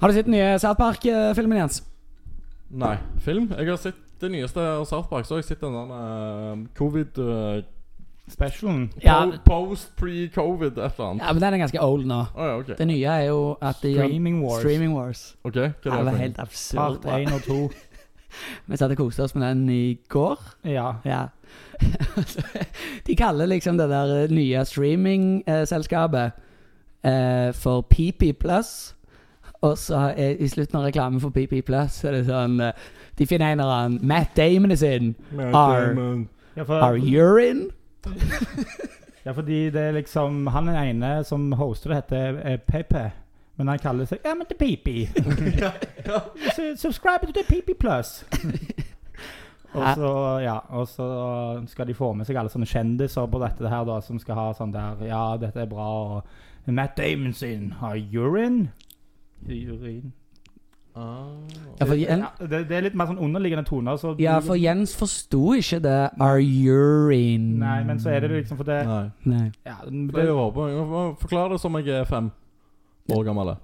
Har du sett den nye South Park-filmen, Jens? Nei, film? Jeg har sett det nyeste av South Park. Så har jeg sett den der eh, covid eh, Specialen. Ja. po Post pre-covid, et eller annet. Ja, men Den er ganske old nå. Å ja, ok. Det nye er jo at de gjør- Streaming Wars. Streaming Wars. Ok, Hva Ja, er det det? var for en? helt absurd. Part bra. 1 og 2. Vi satt og koste oss med den i går. Ja. Ja. de kaller liksom det der nye streamingselskapet eh, for PP Plus. Og så eh, i slutten av reklamen for PP Plus er det sånn eh, De finner en eller annen Matt Damon is in. Are- Ja, for, Are you in? ja, fordi det er liksom Han er ene som hoster det, heter eh, Pepe. Men han kaller seg Ja, men det er Pipi. Su- Subscribe to the Pipi Plus. Og så, ja, og så skal de få med seg alle sånne kjendiser på dette her, da, som skal ha sånn der Ja, dette er bra, og Matt Damon sin har urine. Urin. Ja, for, Jen- Ja, det, det er litt mer sånn underliggende toner. Så ja, for Jens forsto ikke det. Are you in? Nei, men så er det liksom for det Nei. Nei. ja, Det er det, jo håpet. Jeg må Forklar det som jeg er fem år gammel.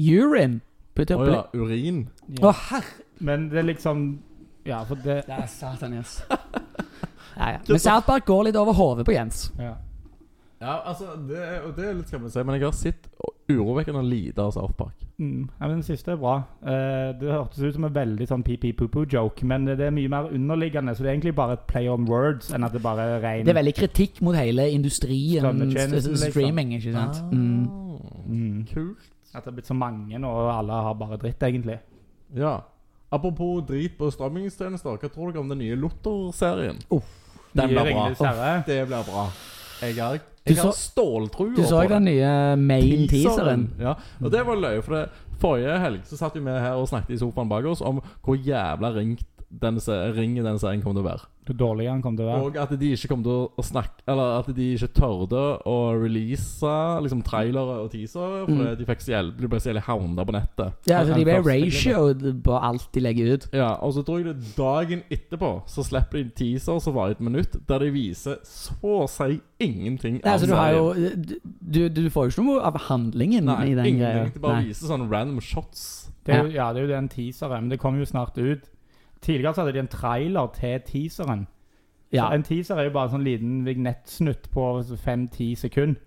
Urine. Putt Å oppi ja, urin. Å, ja. herre Men det er liksom Ja, for det Der, satan, Jens. Ja, ja. Men South Park går litt over hodet på Jens. ja. Ja, altså, det er, og det er litt skammelig å si, men jeg har sett urovekkende lite av South Park. Mm. ja, men Den siste er bra. Eh, det hørtes ut som en veldig sånn pee-pee-poo-poo-joke, men det er mye mer underliggende, så det er egentlig bare et play on words enn at det bare er rein Det er veldig kritikk mot hele industrien Strømmetjenesten, liksom. Ah. st- st- streaming, ikke sant? Mm. mm. Ah. Kult. At det er blitt så mange nå, og alle har bare dritt, egentlig. Ja. Apropos drit på strømmingstjenester, hva tror dere om den nye Lotto-serien? Den Mye blir bra. Ringenes Herre. Det blir bra. Jeg har, Du jeg har så- ståltrua Du så på den nye main-teaseren? Ja, og det var løye, for det, forrige helg så satt vi med her og snakket i sofaen bak oss om hvor jævla ringt den se- ringen den serien kom til å være. Hvor dårlig han kom til å være. Og at de ikke kom til å snakke Eller at de ikke tørde å release liksom trailere og teasere, for Mm. de, fikk så jævlig, de ble så jævlig hounda på nettet. Ja, altså, de ble Den første ratioed på alt de legger ut. Ja, Og så tror jeg det dagen etterpå så slipper de en teaser som varer et minutt, der de viser så å si ingenting. Nei, av altså, du, har serien. jo, du, du får jo ikke noe av handlingen Nei, i den greia. ingenting. Det bare Nei. viser sånn random shots. Det er jo, ja, det er jo den teaseren, men det kommer jo snart ut. Tidligere så hadde de en trailer til teaseren. Ja. Så en teaser er jo bare en sånn liten vignettsnutt på 5-10 sekunder.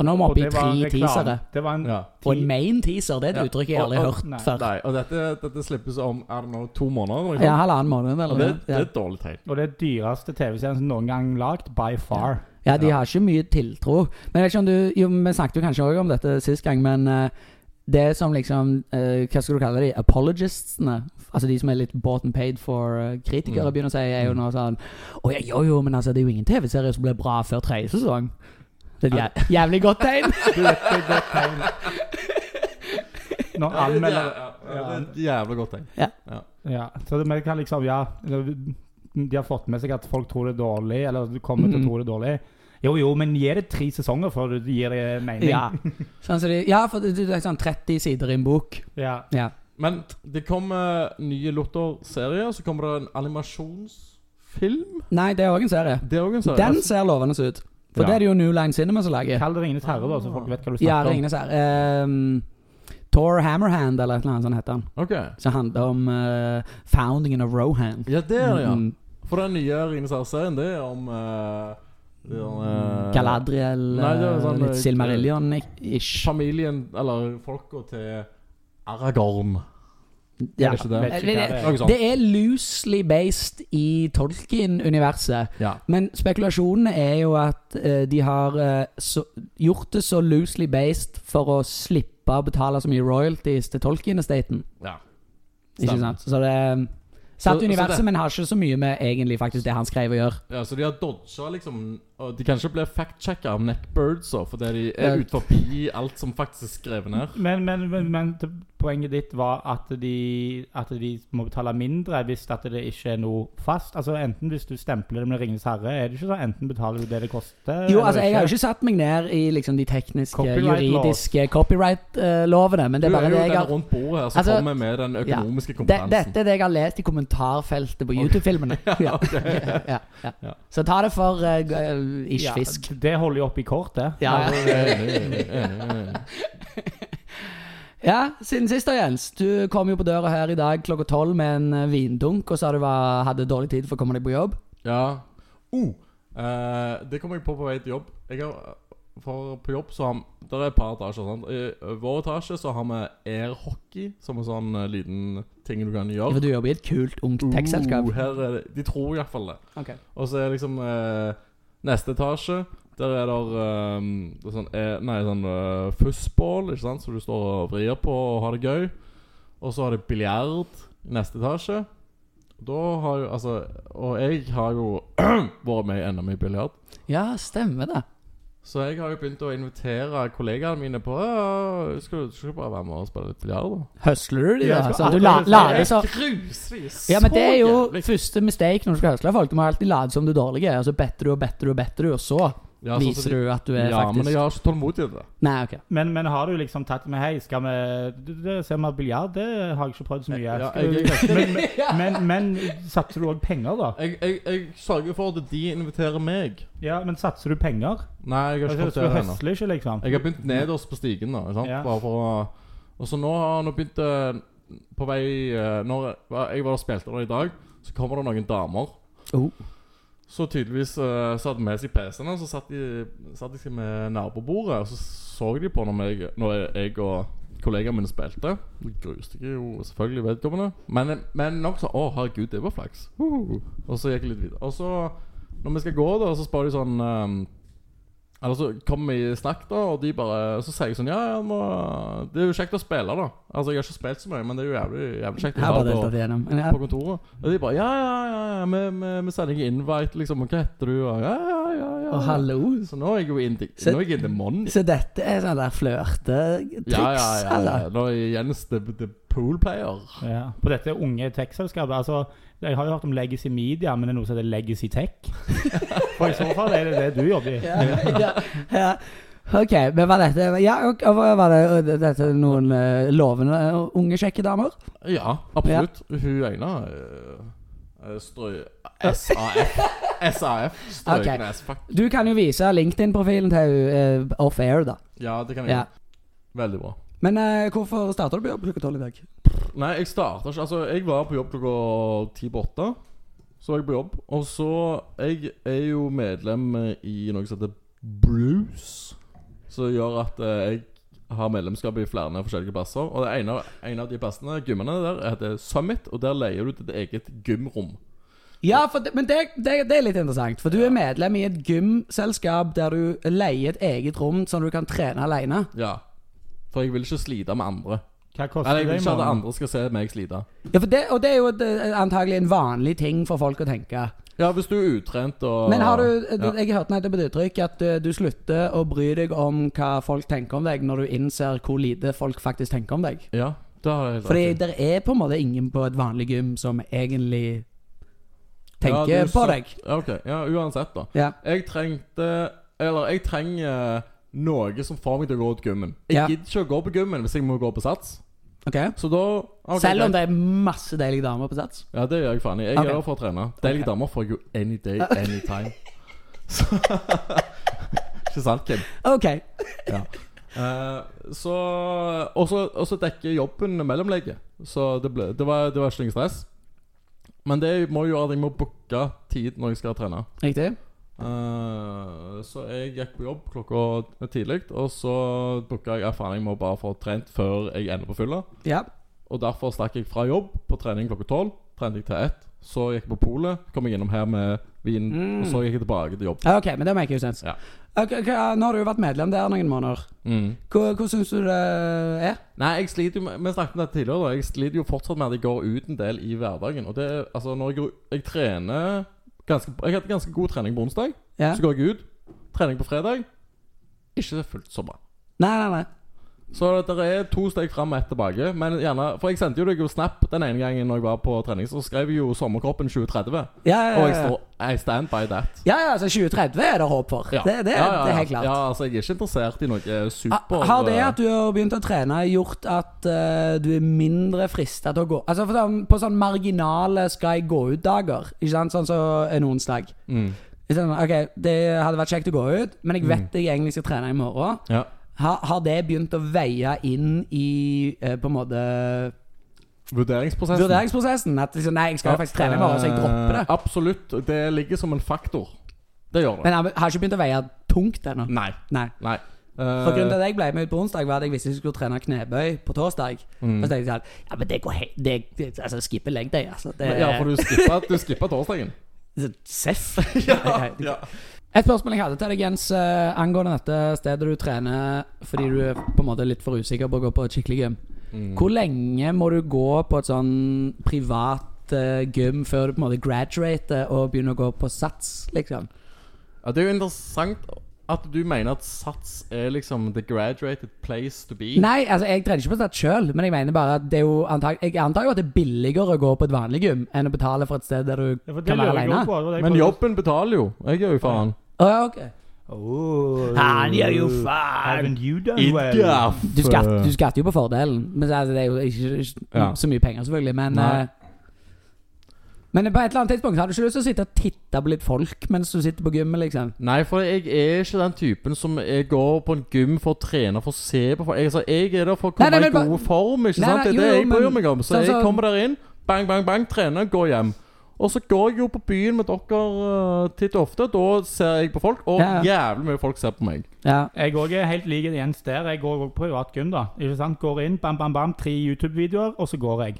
Og nå er vi Og oppe i det var en tre reklame. teasere. Det var en Ja. Og en main-teaser, det er et Ja. uttrykk jeg aldri Og- har og- hørt nei. før. Nei, og dette, dette slippes om er det nå, to måneder. eller noe Ja, sånt? halvannen måned og eller noe. det, det Ja. er et dårlig tegn. Og det er dyreste TV-serien som noen gang lagd, by far. Ja, de Ja. har ikke mye tiltro. Men jeg vet ikke om du Jo, vi snakket jo kanskje også om dette sist gang, men eh, det som liksom eh, Hva skal du kalle de? Apologistsene? Altså de som er litt bought and paid for eh, kritikere, Mm. begynner å si, er jo nå sånn Å ja, jo jo, men altså, det er jo ingen TV-serie som ble bra før tredje sesong. Det er et jæv jævlig godt tegn. Det er et godt tegn. Når Ja, det, er- anmelder... ja, ja, det er et jævlig godt tegn. Ja, så det, vi kan liksom, ja, eller, de har fått med seg at folk tror det er dårlig, eller kommer Mhm. til å tro det er dårlig. Jo, jo, men gi det tre sesonger før du gir det mening. ja. Sånn som de, ja, for det, det er sånn 30 sider i en bok. Ja. Ja. Men det kommer nye Lotto-serier, så kommer det en animasjonsfilm. Nei, det er òg en serie. Det er òg en serie. Den ser lovende ut. For Ja. det er det jo New Line Cinema som lager. Kall det Ringenes herre, da, så folk vet hva du Ja, snakker om. Ringenes herre. Um, Tor Hammerhand, eller et eller annet sånt heter han. Ok. Som handler om eh, foundingen of Rohan. Ja, det er det, ja. Mm, For den nye Ringenes herre-serien, det er om eh, det er om, eh, Galadriel, Nei, det er sånn, eh, eh, litt Silmarillion-ish. Familien, eller folka til Aragorn. Ja. Er sånn. det ikke det? Vet ikke hva det er. Noe sånt. Det er loosely based i Tolkien-universet. Ja. Men spekulasjonene er jo at eh, de har eh, så, gjort det så loosely based for å slippe å betale så mye royalties til Tolkien-estaten. ja. Ikke Stemmer. sant? Så det er Så- satt så universet, det- Eh, men har ikke så mye med egentlig faktisk det han skrev å gjøre. Ja, så de har dodga liksom og De kan ikke bli fact-checka av neckbirds og fordi de Ja. er ut forbi alt som faktisk er skrevet ned. Men, men, men, men til- poenget ditt var at de, at de må betale mindre hvis at det ikke er noe fast. Altså Enten hvis du stempler det med Ringenes herre, er det ikke sånn enten betaler du det det koster Jo, eller altså, jeg har jo ikke. ikke satt meg ned i liksom, de tekniske, Copyright-lov. juridiske copyright-lovene, men det er bare du det er jo jeg den har rundt bordet her som Altså, kommer med den økonomiske det, kompetansen. Dette er det jeg har lest i kommentarfeltet på YouTube-filmene. ja, ja, ja. Ja. Så ta det for eh, g- eh, ish fisk. Ja, det holder jo opp i kortet. Ja, ja. Enig, enig, enig. Ja, siden sist da, Jens. Du kom jo på døra her i dag klokka tolv med en eh, vindunk og sa du var, hadde dårlig tid for å komme deg på jobb. Ja. Oh, eh, det kom jeg på på vei til jobb. Jeg har, for på jobb så har vi Der er et par etasjer. Sant? I eh, vår etasje så har vi airhockey, som en sånn eh, liten ting du kan gjøre. For du jobber i et kult, ungt tech-selskap. Oh, her er det, de tror iallfall det. Ok. Og så er liksom eh, neste etasje Der er der eh, det er sånn, eh, Nei, sånn eh, fussball, ikke sant? Så du står og vrir på og har det gøy. Og så har de biljard i neste etasje. Da har jo Altså Og jeg har jo vært med i NM i biljard. Ja, stemmer det. Så jeg har jo begynt å invitere kollegaene mine på «Ja, skal, du- skal du bare være med og spille litt biljard, da? Høsler du de, Ja, da? Så jeg skulle du la- akkurat later som Grusvis! Ja, men det er jo Sånn, Så jævlig. første mistake når du skal høsle folk. Du må alltid late som du er dårlig, og så better du og better du, og better du, og så ja, sånn som viser de- du at du er Ja, faktisk men jeg har ikke tålmodighet til det. Nei, ok. Men, men har du liksom tatt med Hei, skal vi det- det- Ser vi biljard? Det har jeg ikke prøvd så mye. Ja, Skal jeg- du- men, men, men satser du òg penger, da? Jeg, jeg, jeg sørger for at de inviterer meg. Ja, men satser du penger? Nei, jeg har ikke Altså, fått du det ennå. høsler ikke, liksom? Jeg har begynt nederst på stigen. da, sant? Ja. Bare for å... Og så nå har han begynt eh, på vei eh, Når jeg var og spilte der i dag, så kommer det noen damer. Oh. Så tydeligvis eh, så hadde de med seg PC-en, og så satt de, satt de seg med nabobordet. Og så så de på når jeg, når jeg og kollegaene mine spilte. Det gruste jeg jo selvfølgelig vedkommende. Men, men nok så, Å, herregud, det var flaks. Uhuhu. Og så gikk jeg litt videre. Og så, når vi skal gå, da, så spør de sånn ehm, Eller så kommer vi i snakk, da, og de bare Så sier jeg sånn Ja, ja, må, det er jo kjekt å spille, da. Altså, jeg har ikke spilt så mye, men det er jo jævlig, jævlig kjekt. å Jeg har være bare på- deltatt igjennom. Men ja. på kontoret. Og de bare Ja, ja, ja, ja vi, vi, vi sender deg invite, liksom. Og hva heter du? Og ja, ja, ja, ja. Og hallo. Så nå er jeg jo in the, Så- nå er jeg in the money. Så dette er sånn der flørtetriks, Ja, ja, ja, ja. eller? Nå er Jens the, the pool player. Ja. På dette unge tech-selskapet Altså, jeg har jo hørt om Legacy Media, men det er noe som heter Legacy Tech. For i så fall er det det du jobber i. Ja, ja, ja. Ok, men var dette Ja, ok, og hva var det dette er noen eh, lovende eh, unge, kjekke damer? Ja, absolutt. Hun ene eh, eh, Strø... SAF. SAF. Ok. Strøken as fuck. Du kan jo vise LinkedIn-profilen til henne off-air, da. Ja, det kan jeg Ja. gjøre. Veldig bra. Men eh, hvorfor starta du på jobb klokka tolv i dag? Nei, jeg starta ikke Altså, jeg var på jobb klokka ti på åtte. Så var jeg på jobb. Og så Jeg er jo medlem i noe som heter Bruce. Som gjør at eh, jeg har medlemskap i flere forskjellige plasser. Og det ene, av- en av de plassene, gymmene der, heter Summit. Og der leier du til ditt eget gymrom. Ja, for det, men det, det, det er litt interessant. For du er medlem i et gymselskap der du leier et eget rom sånn du kan trene alene. Ja. For jeg vil ikke slite med andre. Hva koster Eller jeg vil det i ikke at måneden? andre skal se meg slite. Ja, for det, og det er jo et, eh, antagelig en vanlig ting for folk å tenke. Ja, hvis du er utrent og Men har du ja. Jeg hørte nettopp et uttrykk at eh, du slutter å bry deg om hva folk tenker om deg, når du innser hvor lite folk faktisk tenker om deg. Ja, det har jeg helt Fordi rett i. det er på en måte ingen på et vanlig gym som egentlig Ja, tenker du på sa- deg. Ja, OK. Ja, uansett, da. Ja. Jeg trengte Eller jeg trenger noe som får meg til å gå til gymmen. Jeg Ja. gidder ikke å gå på gymmen hvis jeg må gå på sats. ok Så da ok, Selv om det greit. er masse deilige damer på sats. Ja, det gjør jeg faen i. Jeg Ok. er der for å trene. Deilige damer får jeg jo any day, anytime. Så Ikke sant, Kim? Ok. Ja. Eh, så Og så- og så dekker jobben mellomlege. Så det, ble, det, var, det var ikke noe stress. Men det må jo gjøre at jeg må booke tid når jeg skal trene. Riktig. Eh, så jeg gikk på jobb klokka tidlig, og så booka jeg erfaring jeg må bare få trent før jeg ender på fylla. Ja. Og derfor stakk jeg fra jobb på trening klokka tolv. Trente jeg til ett. Så gikk jeg på polet, kom jeg innom her med vin, Mm. og så gikk jeg tilbake til jobb. Ja, Ok, men det maker jo sens. Ja. Ok, ok, ja, nå har du jo vært medlem der noen måneder. Hva, hva syns du det er? Nei, jeg sliter jo med Vi snakket om det tidligere, da. Jeg sliter jo fortsatt med at jeg går ut en del i hverdagen. Og det Altså, når jeg, går- jeg trener ganske, Jeg hadde ganske god trening på onsdag. Ja. Så går jeg ut. Trening på fredag. Ikke fullt så bra. Nei, nei, nei. Så det er to steg fram og ett tilbake. Men gjerne, For jeg sendte jo deg jo snap den ene gangen når jeg var på trening. Så skrev jeg jo 'Sommerkroppen 2030'. Ja, ja, Og jeg ja. står I stand by that. ja, ja, altså 2030 er det håp for. Ja. Det, det, ja, ja, ja. det er helt klart. Ja, eh, altså Jeg er ikke interessert i noe super Ha- Har det at du har begynt å trene, gjort at eh, du er mindre frista til å gå Altså for sånn, På sånn marginale skal jeg gå ut-dager, Ikke sant? sånn som en onsdag. mm. Sånn, ok, Det hadde vært kjekt å gå ut, men jeg vet jeg egentlig skal trene i morgen. Ja. Har, har det begynt å veie inn i eh, på en måte Vurderingsprosessen. vurderingsprosessen? At liksom, nei, jeg skal jo faktisk trene i morgen, så jeg dropper det. Eh, Absolutt. Det ligger som en faktor. Det gjør det. Men han har ikke begynt å veie tungt ennå. Nei. Nei. Nei. Eh, For grunnen til at jeg ble med ut på onsdag, var at jeg visste jeg skulle trene knebøy på torsdag. Mm. Og så tenkte jeg sånn Ja, men det går helt det, det, Altså, skippe legg deg, altså. Det Ja, for du skippa, du skippa torsdagen. Seff. Et spørsmål jeg hadde til deg, Jens, eh, angående dette stedet du trener fordi du er på en måte litt for usikker på å gå på et skikkelig gym. Hvor lenge må du gå på et sånn privat eh, gym før du på en måte graduater og begynner å gå på sats, liksom? Ja, det er jo interessant at du mener at Sats er liksom the graduated place to be. Nei, altså jeg trener ikke på sats sjøl, men jeg mener bare at det er jo antag jeg antar jo at det er billigere å gå på et vanlig gym enn å betale for et sted der du Ja, for det kan være lurer jeg aleine. også på. det var det jeg Men prøvde- jobben betaler jo. Jeg gjør jo faen. Oh, okay. Oh. Han gjør jo faen! Haven't you done well? Du skatter, du skatter jo på fordelen, men altså, det er jo ikke, ikke eh, Ja. så mye penger, selvfølgelig. Men, Nei. eh, men på et eller annet tidspunkt har du ikke lyst til å sitte og titte på litt folk mens du sitter på gymmet, liksom. Nei, for jeg er ikke den typen som jeg går på en gym for å trene for å se på folk. Jeg, altså, jeg er der for å Nei, komme nei, men i bare- god form, ikke Nei, sant? nei, Det er det jo, jo, jeg bryr men- meg om. Så sånn som- jeg kommer der inn, bang, bang, bang, trener, går hjem. Og så går jeg jo på byen med dere eh, titt og ofte. Da ser jeg på folk, og Ja, jævlig mye folk ser på meg. Ja. Jeg òg er helt lik Jens der. Jeg går også på privat gym, da. Ikke sant? Går inn, bam, bam, bam, tre YouTube-videoer, og så går jeg.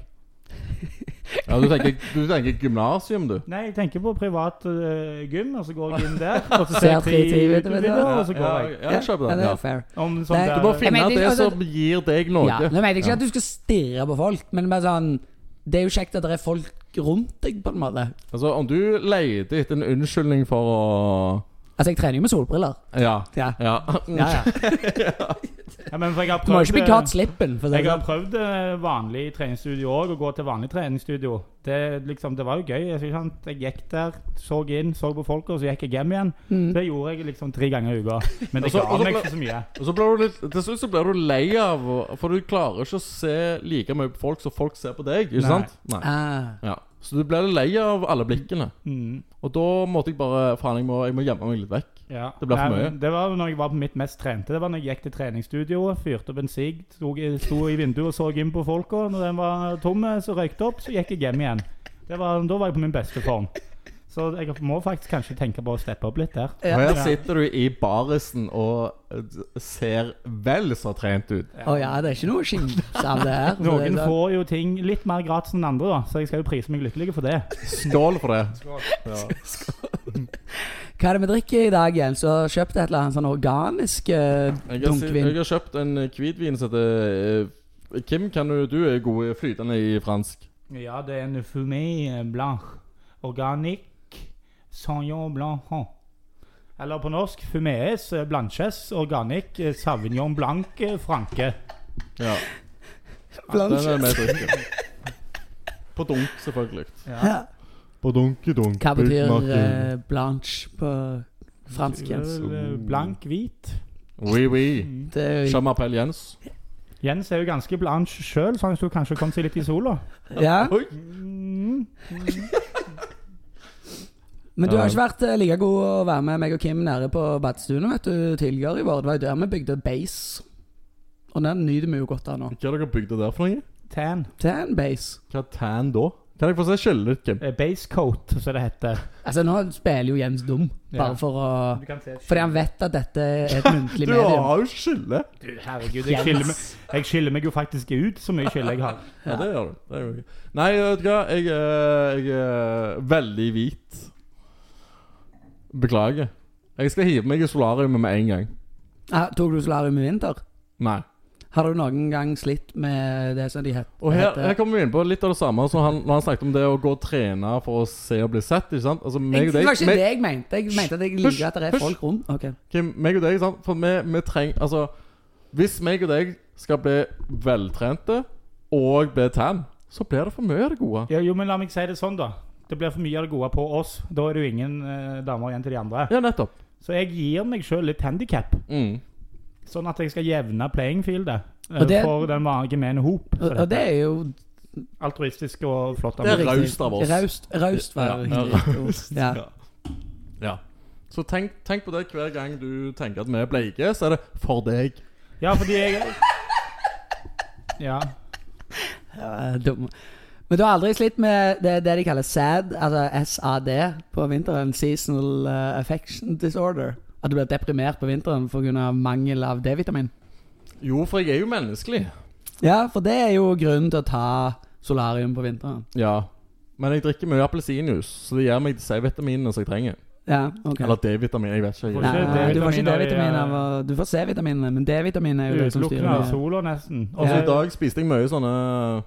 Ja, Du tenker, du tenker gymnasium, du. Nei, jeg tenker på privat øh, gym, og så går jeg inn der. Og så ser Ser jeg tre tre YouTube-videoer, YouTube-videoer, og så ja, går jeg. ja, jeg kjøper Ja, den. det Ja. er fair. Om Nei, sånn Du må der, Jeg finne mener, det altså- som gir deg noe. Ja, nå mener jeg ikke Ja. at du skal stirre på folk, men bare sånn Det er jo kjekt at det er folk rundt deg, på en måte. Altså, om du leter etter en unnskyldning for å Altså, jeg trener jo med solbriller. Ja. Ja. Ja. Ja, ja. ja, men for jeg har Du må jo prøvd, ikke bli øh, kalt slippen. For å si det jeg har sånn. prøvd øh, vanlig treningsstudio òg, å gå til vanlig treningsstudio. Det, liksom, det var jo gøy. Ikke sant? Jeg gikk der, så inn, så på folka, og så gikk jeg hjem igjen. sånn. Mm. Det gjorde jeg liksom tre ganger i uka. Men det Mm. Og så- ga og så meg ble- ikke så mye. Og så blir du litt Til slutt så blir du lei av å- For du klarer ikke å se like mye på folk som folk ser på deg. Ikke Nei. sant? Nei. Ah. Ja. Så du blir lei av alle blikkene. Mm. Og da måtte jeg bare Faen, jeg må, jeg må gjemme meg litt vekk. Ja. Det ble for Nei, mye. men Det var når jeg var på mitt mest trente. Det var når jeg gikk til treningsstudioet, fyrte opp en sigg, sto, sto i vinduet og så inn på folka. Når den var tom, eh, så røykte opp, så gikk jeg hjem igjen. Det var, da var jeg på min beste form. Så jeg må faktisk kanskje tenke på å steppe opp litt der. Ja. Og her sitter du i barisen og eh, ser vel så trent ut. Å ja, det er ikke noe skimse av det her. så det Noen er sånn- får jo ting litt mer gratis enn andre, da, så jeg skal jo prise meg lykkelig for det. Skål for det. Ja. Hva er det vi drikker i dag, Jens? Du har kjøpt et eller annet sånn organisk eh, Jeg har, si- jeg dunkvin. har kjøpt en eh, hvitvin som heter eh, Kim, kan du, du er god i flytende i fransk. Ja, det er en fumé blanche. Organic sauvignon blanc. Eller på norsk fumées blanches organic eh, sauvignon blanc eh, franke. Ja, den Blanche. er med i drikken. På dunk, selvfølgelig. Ja. På dunki dunk. Hva betyr eh, blanche på fransk, Jens? Blank eh, hvit. Oui, oui. Det er jo Jean-Marpel Jens. Jens er jo ganske blanche sjøl, så han skulle kanskje kommet seg litt i sola. Ja, Oi. Mm. Men du har ikke vært eh, like god å være med meg og Kim nede på badstuen vet du, tidligere i vår. Det var jo der vi bygde base. Og den nyter vi jo godt av nå. Hva har dere bygd det der for noe? Tan. Det er en base. Hva er tan da? Kan jeg få se skjellet ditt, Kim? Eh, Base coat, som det heter. Altså, nå spiller jo Jens dum, bare Ja. for å Du kan se Fordi han vet at dette er et muntlig Du medium. har jo skille! Du, herregud, jeg skiller, meg, jeg skiller meg jo faktisk ut så mye skille jeg har. Ja, det gjør du. Det er jo gøy. Nei, vet du hva? Jeg, er- jeg er veldig hvit. Beklager. Jeg skal hive meg i solariumet med en gang. Ah, tok du solarium i vinter? Nei. Har du noen gang slitt med det som de het? Og her, heter- her kommer vi inn på litt av det samme som han, når han snakket om det å gå og trene for å se og bli sett. ikke sant? Altså, meg Jeg, og det deg, var ikke meg, det jeg mente. Jeg mente at jeg Hysj, liker at det er hysj. folk rundt. Ok. Kim, meg og deg, ikke sant? For vi, vi trenger Altså, hvis meg og deg skal bli veltrente og bli tan, så blir det for mye av det gode. Ja, jo, men la meg si det sånn, da. Det blir for mye av det gode på oss. Da er det jo ingen eh, damer igjen til de andre. Ja, nettopp. Så jeg gir meg sjøl litt handikap, Mm. sånn at jeg skal jevne playing fieldet. eh, Og det- for den vanlige gemene hop. Og, og det er jo Altruistisk og flott. av Det er meg. riktig. raust av oss. Raust, raust var det Ja, riktige ord. ja. Ja. Så tenk, tenk på det hver gang du tenker at vi er bleike, så er det for deg. Ja, fordi jeg Ja. Ja, dum. Men du har aldri slitt med det, det de kaller SAD, altså SAD på vinteren? Seasonal eh, Affection Disorder. At du blir deprimert på vinteren pga. mangel av D-vitamin? Jo, for jeg er jo menneskelig. Ja, for det er jo grunnen til å ta solarium på vinteren. Ja. Men jeg drikker mye appelsinjuice, så det gir meg de C-vitaminene som jeg trenger. Ja, ok. Eller D-vitamin. Jeg vet ikke. Får Nei, Jeg. ikke nei, du får ikke D-vitamin D-vitamin av av å Du får C-vitaminene, men D-vitamin er jo det som eh, Utelukkende av styrer. med- sola, nesten. Og Altså, så Ja. i dag spiste jeg mye sånne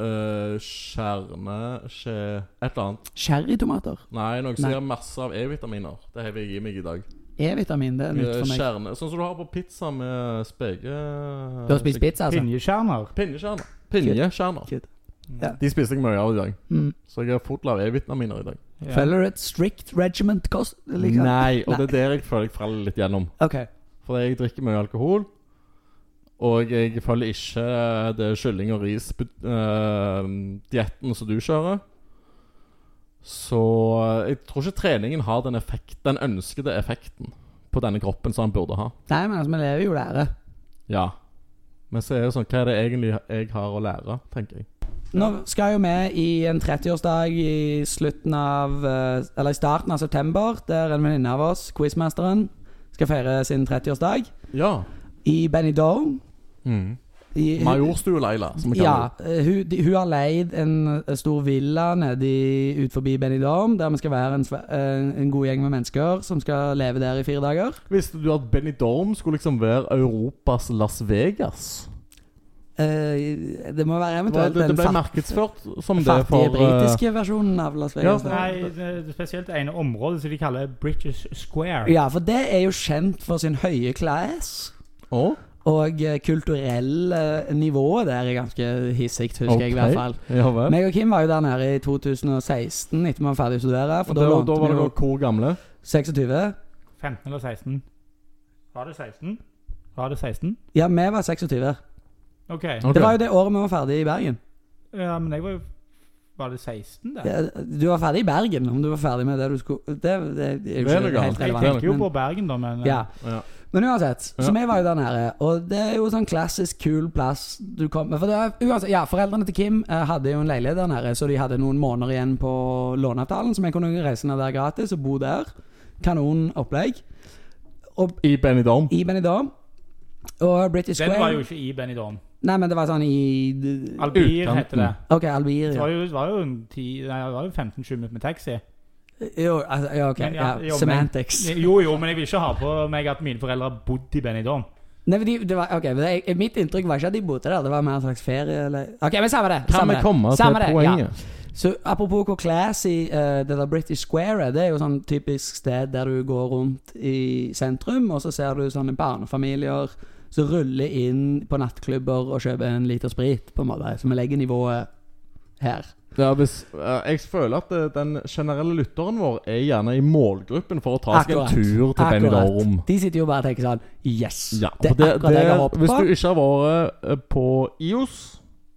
øh, Kjerne... Skje... Et eller annet. Cherrytomater. Nei, noe som Nei. gir masse av E-vitaminer. Det hever jeg i meg i dag. E-vitamin, det er nytt Eh, for meg. Kjerne. Sånn som du har på pizza med speke... Du har spist pizza, altså? pinjekjerner. Pinnekjerner. Pinjekjerner. Shit. Ja. De spiste jeg mye av i dag. Mm. Så jeg er full av E-vitaminer i dag. Ja. Følger du et strict regiment kost? Liksom? Nei, og Nei. det er der jeg føler jeg faller litt gjennom. Ok. For jeg drikker mye alkohol. Og jeg følger ikke eh, det kylling- og ris-dietten som du kjører. Så eh, jeg tror ikke treningen har den, effekt, den ønskede effekten på denne kroppen som den burde ha. Nei, men altså, vi lever jo lære. Ja. Men så er det sånn, hva er det egentlig jeg har å lære, tenker jeg. Nå skal jo vi i en 30-årsdag i slutten av eh, Eller i starten av september, der en venninne av oss, quizmasteren, skal feire sin 30-årsdag Ja. i Benidorm. Mm. I- Majorstue-Leila, som vi Ja, kaller det. eh, hun, de, hun har leid en eh, stor villa nede i- ut forbi Benidorm, der vi skal være en, sve- eh, en god gjeng med mennesker som skal leve der i fire dager. Visste du at Benidorm skulle liksom være Europas Las Vegas? Eh, det må være Det, var, eventuelt det, det den ble fat, markedsført som det fattige for eh, britiske versjonen av Las Ja, Vegas. da. Nei, det er spesielt det ene området som de kaller British Square. ja, for det er jo kjent for sin høye class. Å? Og eh, kulturelle nivået der er ganske hissig, husker jeg i Ok. hvert fall. Ja vel. Meg og Kim var jo der nede i 2016 etter vi var ferdig å studere. For da, da da, lånte var vi dere jo hvor gamle? 26. 15 eller 16? Var det 16? Var det 16? Ja, vi var 26. OK. Det var jo det året vi var ferdig i Bergen. Ja, men jeg var jo Var det 16, da? Ja, Du var ferdig i Bergen, om du var ferdig med det du skulle Det, det er Det er jo noe ikke helt annet. Jeg relevant. tenker jo Men, på Bergen, da, men eh, ja. Ja. men uansett, så Ja. vi var jo der nede. Og det er jo sånn klassisk kul plass du kommer For det er, uansett, ja, foreldrene til Kim eh, hadde jo en leilighet der nede, så de hadde noen måneder igjen på låneavtalen, så vi kunne reise ned der gratis og bo der. Kanon opplegg. Og I Benidorm. i Benidorm og British Den var Square jo ikke i Benidorm. Nei, men det var sånn i Albir Utkanten. heter det. OK, Det Albiria. var jo, det var jo, en ti- nei, det var jo 15-20 minutter med taxi. Jo, altså, ja, OK. Men ja, Ja, jo, men- semantics. Jo, jo, men jeg vil ikke ha på meg at mine foreldre har bodd i Benidorm. Nei, men de, det var, ok, men jeg, Mitt inntrykk var ikke at de bodde der, det var mer en slags ferie. Eller, ok, men Samme det. Kan samme vi det, komme samme til det, Ja. poenget? Så Apropos hvor classy eh, det der British Square er. Det er jo sånn typisk sted der du går rundt i sentrum, og så ser du sånne barnefamilier som ruller inn på nattklubber og kjøper en liter sprit, på en måte. Så vi legger nivået her. Ja. hvis, eh, jeg føler at eh, den generelle lytteren vår er gjerne i målgruppen for å ta seg en Akkurat. tur til Akkurat. Benidorm. De sitter jo bare og tenker sånn Yes! Ja, det for er akkurat det jeg har håpet Hvis på. du ikke har vært eh, på IOS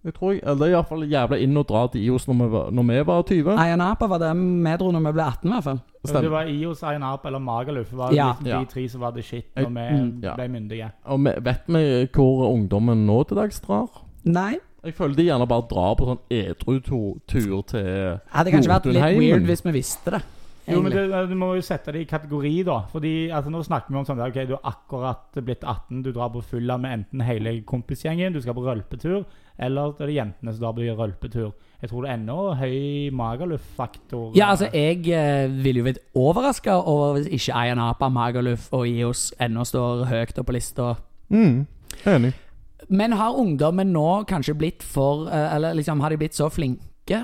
jeg tror jeg, Eller det er iallfall jævla inn og dra til IOS når vi var, når vi var 20. Ayanapa var det vi dro når vi ble 18, i hvert fall. Det Stemmer. var IOS, Ayanap eller Magaluf. Det var Ja. liksom Ja. de tre som var the shit Jeg- når vi Mm. Ja. ble myndige. Og vi- vet vi hvor ungdommen nå til dags drar? Nei. Jeg føler de gjerne bare drar på sånn edru-tur til Hadde kanskje vært litt Jotunheimen. weird hvis vi visste det. Jo, men egentlig. det, Du må jo sette det i kategori, da. Fordi altså, Nå snakker vi om sånn der, ok, du er akkurat blitt 18, du drar på fylla med enten hele kompisgjengen, du skal på rølpetur, eller det er det jentene som drar på rølpetur. Jeg tror det er ennå høy magaluf-faktor. Ja, altså, jeg eh, ville jo blitt overraska over hvis ikke Ayanapa, Magaluf og IOS ennå står høyt oppe på lista. mm, Enig. Men har ungdommen nå kanskje blitt for eh, Eller liksom, har de blitt så flinke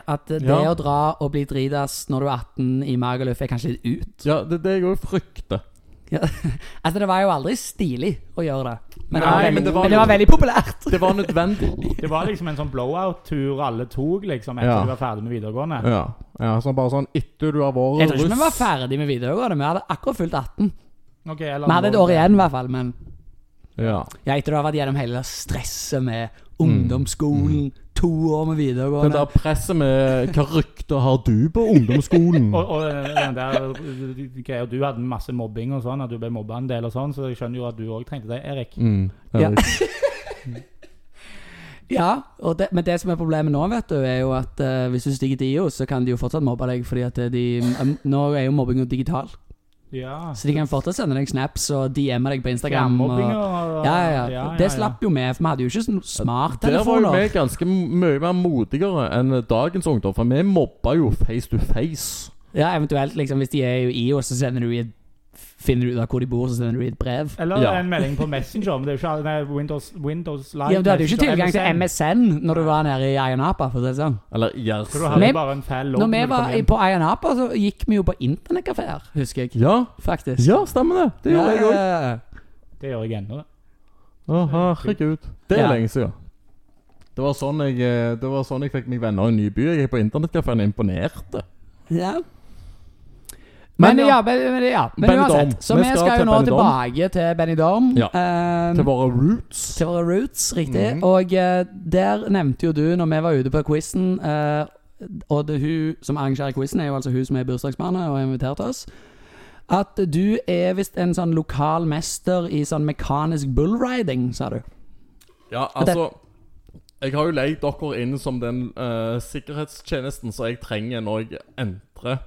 at eh, det Ja. å dra og bli dritas når du er 18 i Magaluf, er kanskje litt ut? Ja, det er det jeg òg frykter. Ja. altså, det var jo aldri stilig å gjøre det. Men, det, Nei, var veldig, men, men det det var var jo- veldig populært. Det var nødvendig. Det var liksom en sånn blowout-tur alle tok liksom, etter Ja. du var ferdig med videregående. ja. ja så bare sånn etter du har vært Jeg tror ikke vi var ferdig med videregående. Vi hadde akkurat fylt 18. Ok, eller Vi hadde et nå- år igjen, i hvert fall. Men Ja. Mm. ja, etter du har vært gjennom hele det stresset med ungdomsskolen, to år med Det videregående. der presset med Hva rykter har du på eh, ungdomsskolen? Og, og den der greia Du hadde masse mobbing og sånn, at du ble mobba en del og sånn, så jeg skjønner jo at du òg trengte det, Erik. Mm, Ja. Erik. Ja, og det, men det som er problemet nå, vet du, er jo at eh, hvis du stiger til IO, så kan de jo fortsatt mobbe deg, fordi at de em, Nå er jo mobbing jo digital, Ja. så de kan fortsatt sende deg snaps og DM-e deg på Instagram. Og, Mobbing ja, og ja, ja. Det slapp jo vi, for vi hadde jo ikke sånn Der var jo smarttelefoner. vi ganske mye mer modigere enn dagens ungdom, for vi mobba jo face to face. Ja, eventuelt, liksom, hvis de er jo i IO, så sender du i et Finner du ut av hvor de bor, så sender du i et brev. Eller Ja. en melding på Messenger. Men det er jo ikke nei, Windows, Windows Live. Ja, men Du hadde jo ikke Messenger, tilgang til MSN. MSN når du var nede i Ayanapa. for å si det sånn. Eller Så du Jersa. hadde Men- bare en fæl logg Når vi du kom var i- hjem. på Ayanapa, så gikk vi jo på internettkafeer, husker jeg. Ja, Faktisk. ja, stemmer det. Det gjorde jeg òg. òg. Det gjør jeg ennå. det. Å, herregud. Det er Ja. lenge siden. Det var, sånn jeg, eh, det var sånn jeg fikk meg venner i en ny by. Jeg gikk på internettkafeen og imponerte. Ja. Men Men, ja. ja, men, men, ja. men Benny uansett. Dorm. Så Vi vi skal skal, til jo nå Benny Dorm. tilbake til Benny Dorm. Ja. ehm, Til våre roots. til våre roots, riktig. Mhm. Og eh, der nevnte jo du, når vi var ute på quizen eh, Og det hun som arrangerer quizen, er jo altså hun som er bursdagsbarnet og har invitert oss. At du er visst en sånn lokal mester i sånn mekanisk bullriding, sa du. Ja, altså Jeg har jo leid dere inn som den eh, sikkerhetstjenesten som jeg trenger når jeg entrer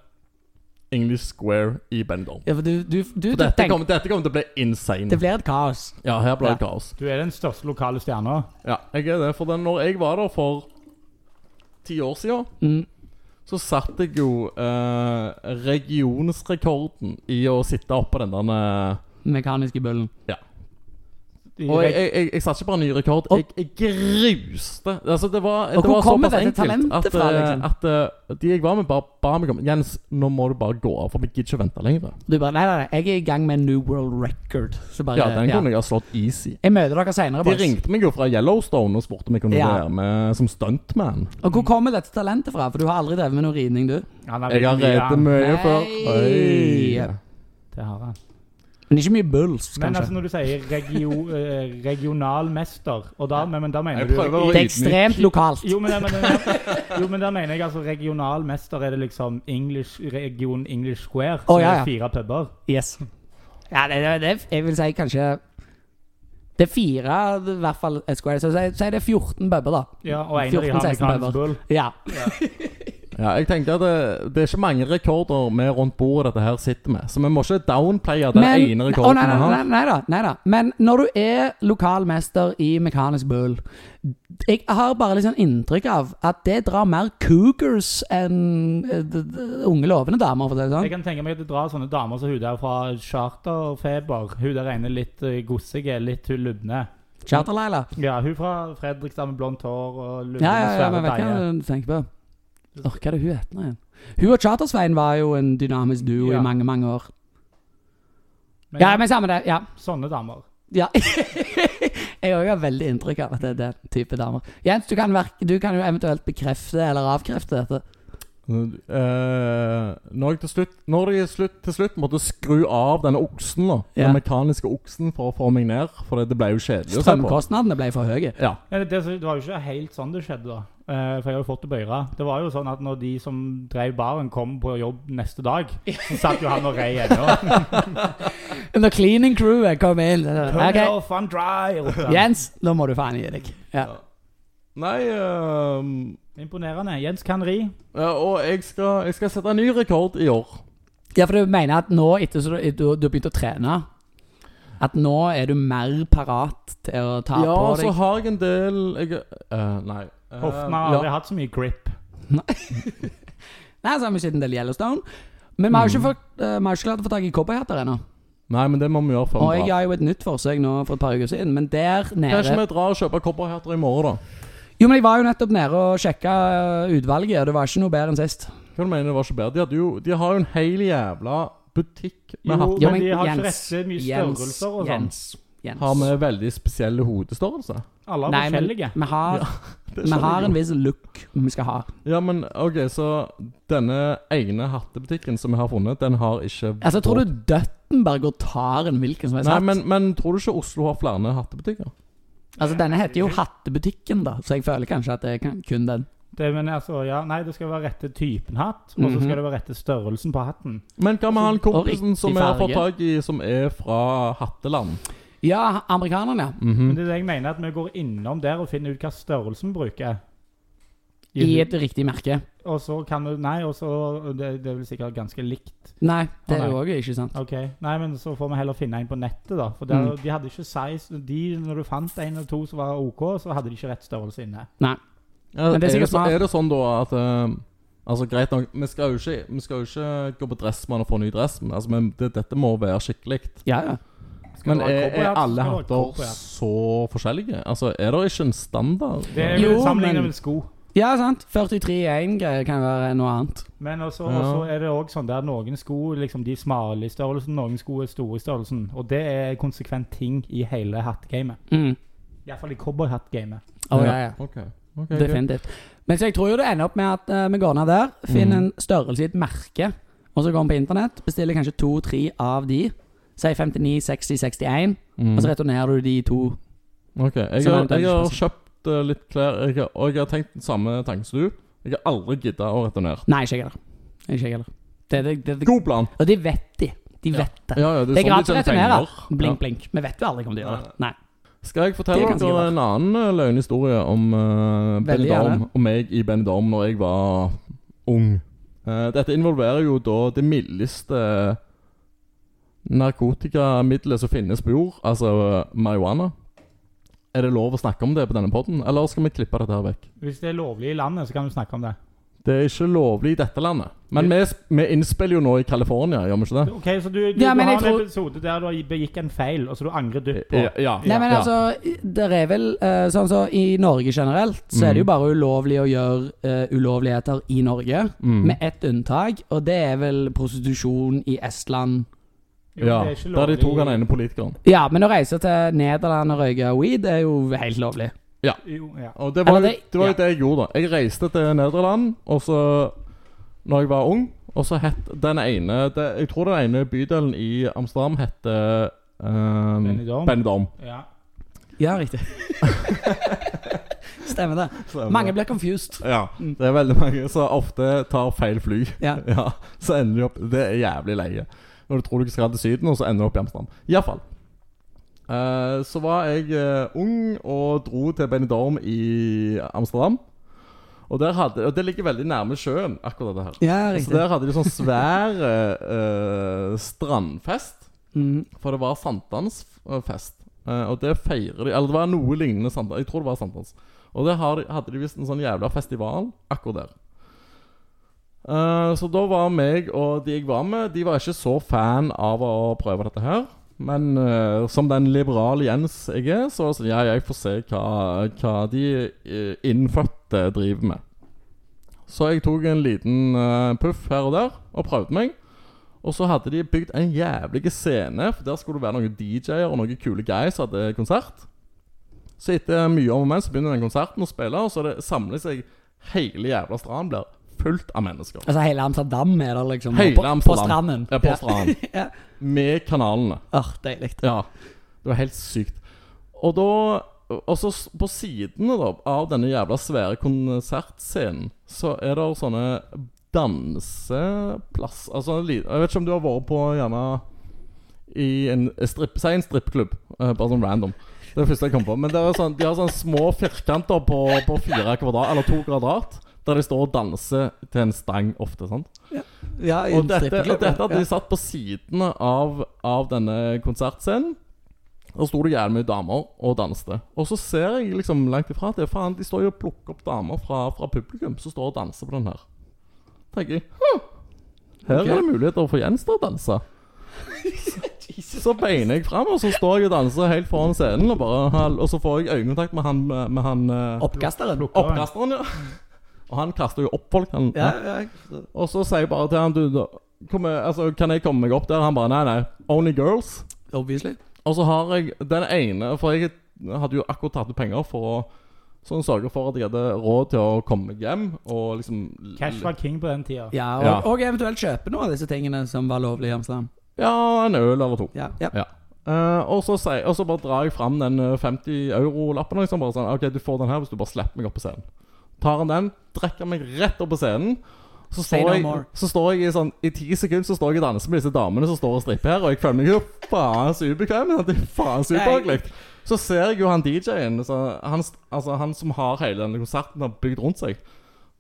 English Square i Bendorm. Ja, for du, du, du, du Dette tenk- kommer, dette kommer til å bli insane. Det blir et kaos. Ja, her blir det Ja. kaos. Du er den største lokale stjerna. Ja, jeg er det. For den, når jeg var der for ti år siden, Mm. så satte jeg jo eh, regionsrekorden i å sitte oppå den der eh, Mekaniske bullen. I Og jeg, reg- jeg, jeg, jeg satte ikke bare ny rekord, Og- jeg, jeg gruste. Altså, det var, det Og hvor var kommer såpass dette enkelt at, talentet fra, eh, liksom? at eh, de jeg var med, bare ba meg om Jens, nå må du bare gå av, for vi gidder ikke vente lenger. Du bare Nei, nei, nei, jeg er i gang med en New World Record. Så bare, Ja, den kunne jeg ha slått easy. Jeg møter dere seinere, De boys. ringte meg jo fra Yellowstone og spurte om jeg kunne Ja. være med som stuntman. Og hvor kommer dette talentet fra? For du har aldri drevet med noe ridning, du. Han er Jeg har veldig redet mye, mye Nei. før. Oi. ja. Det har han. Men ikke mye bulls, Men kanskje. altså når du sier regio, eh, regionalmester, og da, men, men da mener Jeg du prøver å- det er ekstremt lokalt. Jo, men, men, men, jo, men da mener jeg altså regionalmester er det liksom English, region English Square, som Å, ja, ja. er fire puber. Yes. Ja, det, det, det, jeg vil si kanskje Det er fire, i hvert fall. et Square. Så si, si det er 14 puber, da. Ja, og en av de 14-16 har mekanisk puber. bull. Ja. Ja, jeg tenkte at det, det er ikke mange rekorder vi rundt bordet dette her sitter med, så vi må ikke downplaye den ene å, rekorden nei, nei, vi har. nei, nei, da, nei da. Men når du er lokal mester i mekanisk bull Jeg har bare litt sånn inntrykk av at det drar mer cougars enn eh, d- d- unge lovende damer, for å si det sånn. Jeg kan tenke meg at det drar sånne damer som hun der fra charterfeber. Hun der ene litt eh, gossige, litt hun lubne. Charter-Laila. Ja, hun fra Fredrikstad med blondt hår og lubne, Ja, ja, ja, men svære vet deier. hva du tenker på. Åh, hva er det hun heter nå igjen? Hun og Charter-Svein var jo en dynamisk duo Ja. i mange, mange år. Men Ja, men samme det. Ja. sånne damer. ja. Jeg òg har veldig inntrykk av at det er den type damer. Jens, du kan, verk- du kan jo eventuelt bekrefte eller avkrefte dette. Eh, når, jeg til slutt, når jeg slutt, til slutt måtte skru av denne oksen, da, Ja. den mekaniske oksen, for å få meg ned For det, det ble jo kjedelig å se på. Strømkostnadene ble for høye. Ja. Ja, det, det, det var jo ikke helt sånn det skjedde, da. Eh, for jeg har jo fått det på øret. Det var jo sånn at når de som drev baren, kom på jobb neste dag, så satt jo han og rei ennå. Når cleaning crewet kom inn Turn Ok, it off, I'm dry! ropte han. Jens, nå må du faen gi deg. Ja. Nei eh, Imponerende. Jens kan ri. ja, Og jeg skal, jeg skal sette en ny rekord i år. ja, for du mener at nå, etter så du, du, du har begynt å trene, at nå er du mer parat til å ta ja, på altså- så deg har jeg en del jeg, eh, Nei. eh, Hoffmann har aldri hatt så mye grip. Nei, så har vi sett en del Yellowstone. Men vi har jo Mm. ikke, fått, eh, vi har ikke klart å få tak i cowboyhatter ennå. Nei, men det må vi gjøre før Og vi jeg drar. har jo et nytt forsøk nå for et par uker siden, men der Kanskje nede vi drar og kjøper cowboyhatter i morgen, da? Jo, men jeg var jo nettopp nede og sjekka eh, utvalget, og det var ikke noe bedre enn sist. Hva du mener det var ikke bedre? De, hadde jo, de har jo en hel jævla butikk Jo, med hatter. Ja, men, men de har ikke Jens, rette mye Jens, størrelser og sånn. Jens. Jens. Har med veldig spesielle hodestørrelse. Alle Nei, er men forskjellige. vi har, Det vi skjønner jeg har jo. en viss look vi skal ha. Ja, men ok, så denne ene hattebutikken som jeg har funnet, den har ikke Altså, tror du Døttenberg og tar en hvilken som helst Nei, hatt? men, men tror du ikke Oslo har flere hattebutikker? Altså, denne heter jo Hattebutikken, da, så jeg føler kanskje at det er kan- kun den. Det, men altså, ja, nei, det skal være rette typen hatt, og så Mhm. skal det være rette størrelsen på hatten. Men hva med han kompisen riktig som vi har fått farge. tak i, som er fra Hatteland? Ja, amerikaneren, ja. Men det er det jeg mener, at vi går innom der og finner ut hva størrelsen vi bruker. I et riktig merke. Og så kan du Nei, og så det, det er vel sikkert ganske likt. Nei, det Å, er nei. jo òg ikke sant. Ok, Nei, men så får vi heller finne en på nettet, da. For Mm. der, de hadde ikke size de, Når du fant en eller to som var OK, så hadde de ikke rett størrelse inne. Ja, Men det er sikkert så- smart. Er det sånn da at eh, Altså Greit nok, vi skal jo ikke, vi skal jo ikke gå på Dressmann og få ny dress, men, altså, men det, dette må være skikkelig. Ja, ja. Men Skal det være er, er alle cowboyhatt, så skal det være hatter cowboyhatt. så forskjellige? Altså Er det ikke en standard? Det er Jo, jo men- sammenlignet med sko. ja sant. 43 i én greie kan være noe annet. Men også, Ja. også er det også sånn der noen sko liksom de er smale i størrelsen, noen sko er store i størrelsen. Og det er konsekvent ting i hele hattgamet. Mm. Iallfall i cowboyhattgamet. Å, ja, ja. Ok, ok, greit. Definitivt. Men så jeg tror jo det ender opp med at eh, vi går ned der, finner Mhm. en størrelse i et merke, og så går vi på internett, bestiller kanskje to-tre av de. Si 59, 60, 61, Mm. og så returnerer du de to. Ok, jeg Så har, langt er det jeg ikke har passivt. kjøpt eh, litt klær, jeg har, og jeg har tenkt den samme tanken som du. Jeg har aldri gidda å returnere. Nei, ikke jeg heller. Ikke jeg heller. Det, det, det, det. God plan! Og de vet de. De vet det. Ja, ja, det Det er er sånn gratis de å tjener returnere. penger. Blink, Ja. blink. Vi vet jo aldri om de gjør det. Nei. Skal jeg Det fortelle kan sikkert dere en annen eh, løgnhistorie om eh, Veldig Benidorm, gjerne. om meg i Benidorm når jeg var ung? Eh, dette involverer jo da det mildeste narkotikamiddelet som finnes på jord, altså eh, marihuana. Er det lov å snakke om det på denne podden, eller skal vi klippe dette her vekk? Hvis det er lovlig i landet, så kan du snakke om det. Det er ikke lovlig i dette landet. Men vi, vi innspiller jo nå i California, gjør vi ikke det? Ok, Så du, du, Ja, du men har jeg en tror- episode der du begikk en feil, og så du angrer dypt på. Ja. ja. Nei, men ja. altså, det er vel eh, Sånn som i Norge generelt, så er det jo bare ulovlig å gjøre eh, ulovligheter i Norge. Mm. Med ett unntak, og det er vel prostitusjon i Estland. Jo, ja. det er Der ikke de lovlig- tok han ene politikeren. Ja, men å reise til Nederland og røyke weed er jo helt lovlig. Jo, ja. Og det var, Eller jo, det- det, var jo ja. det jeg gjorde, da. Jeg reiste til Nederland, og så Når jeg var ung, og så het den ene det, Jeg tror den ene bydelen i Amsterdam heter um, Benidorm. Benidorm. Ja. Ja, riktig. Stemmer det. Mange blir confused. Ja, det er veldig mange som ofte tar feil fly. Mm. Ja. Så ender de opp Det er jævlig leie. Når du tror du skal til Syden, og så ender du opp i Amsterdam. Iallfall. Uh, så var jeg eh, ung og dro til Benidorm i Amsterdam. Og, der hadde, og det ligger veldig nærme sjøen, akkurat det her. Ja, Så riktig. der hadde de sånn svær eh, eh, strandfest. Mhm. For det var sankthansfest. eh, Og det feirer de Eller det var noe lignende sankthans. Jeg tror det var sankthans. Og det har, hadde de visst en sånn jævla festival akkurat der. Eh, så da var meg og de jeg var med, de var ikke så fan av å prøve dette her. Men eh, som den liberale Jens jeg er, så var det sånn, ja, jeg får se hva, hva de eh, innfødte driver med. Så jeg tok en liten eh, puff her og der og prøvde meg. Og så hadde de bygd en jævlig scene, for der skulle det være noen DJ-er og noen kule guys som hadde konsert. Så etter mye om og men så begynner den konserten å spille, og så er det samler seg hele jævla stranden blir fullt av mennesker. Altså hele Amsterdam er der, liksom. Hele på, Amsterdam. På stranden. Ja, på stranden. Ja. Med kanalene. Åh, deilig. Ja. Det var helt sykt. Og da Og så s- på sidene da, av denne jævla svære konsertscenen, så er det sånne danseplass Altså, li- jeg vet ikke om du har vært på gjerne i en stripp, Si en strippklubb. eh, Bare sånn random. Det er det første jeg kom på. Men det er sånn, de har sånne små firkanter på, på fire kvadrat, eller to kvadrat, der de står og danser til en stang ofte. sant? Ja, i Og en dette, strippeklubb, og dette at ja. de satt på sidene av, av denne konsertscenen. Og sto det jævlig mye damer og danste. Og så ser jeg liksom langt ifra at det, faen, de står jo og plukker opp damer fra, fra publikum som står og danser på den her. tenker jeg «Hm, Her Ok. er det muligheter for Jens til å danse. Så beiner jeg fram, og så står jeg og danser helt foran scenen. Og, bare, hall- og så får jeg øyekontakt med han, med han eh, Oppkasteren. oppkasteren, ja. Og han kaster jo opp folk. Han, Ja, ja. og så sier jeg bare til han Du, da, kom, jeg- altså, kan jeg komme meg opp der? Han bare Nei, nei. Only girls. Obviously. Og så har jeg den ene For jeg hadde jo akkurat tatt ut penger for å sånn sørge for at jeg hadde råd til å komme meg hjem. Og liksom Cash var king på den tida. Ja, og, Ja. og eventuelt kjøpe noe av disse tingene som var lovlig i Amsterdam. Ja, en øl eller to. Ja, ja. Eh, Eh, og, så sier, og så bare drar jeg fram den eh, 50 euro-lappen. Liksom, bare sånn, ok, du får den her hvis du bare slipper meg opp på scenen. Tar han den, trekker han meg rett opp på scenen. Så Say står, no jeg, more. så står jeg i sånn I ti sekunder så står jeg og danser med disse damene som står og stripper her, og jeg føler meg jo faen så ubekvem. sant? Det er faen så ubehagelig. Så ser jeg jo han DJ-en, så han, altså, han som har hele denne konserten har bygd rundt seg.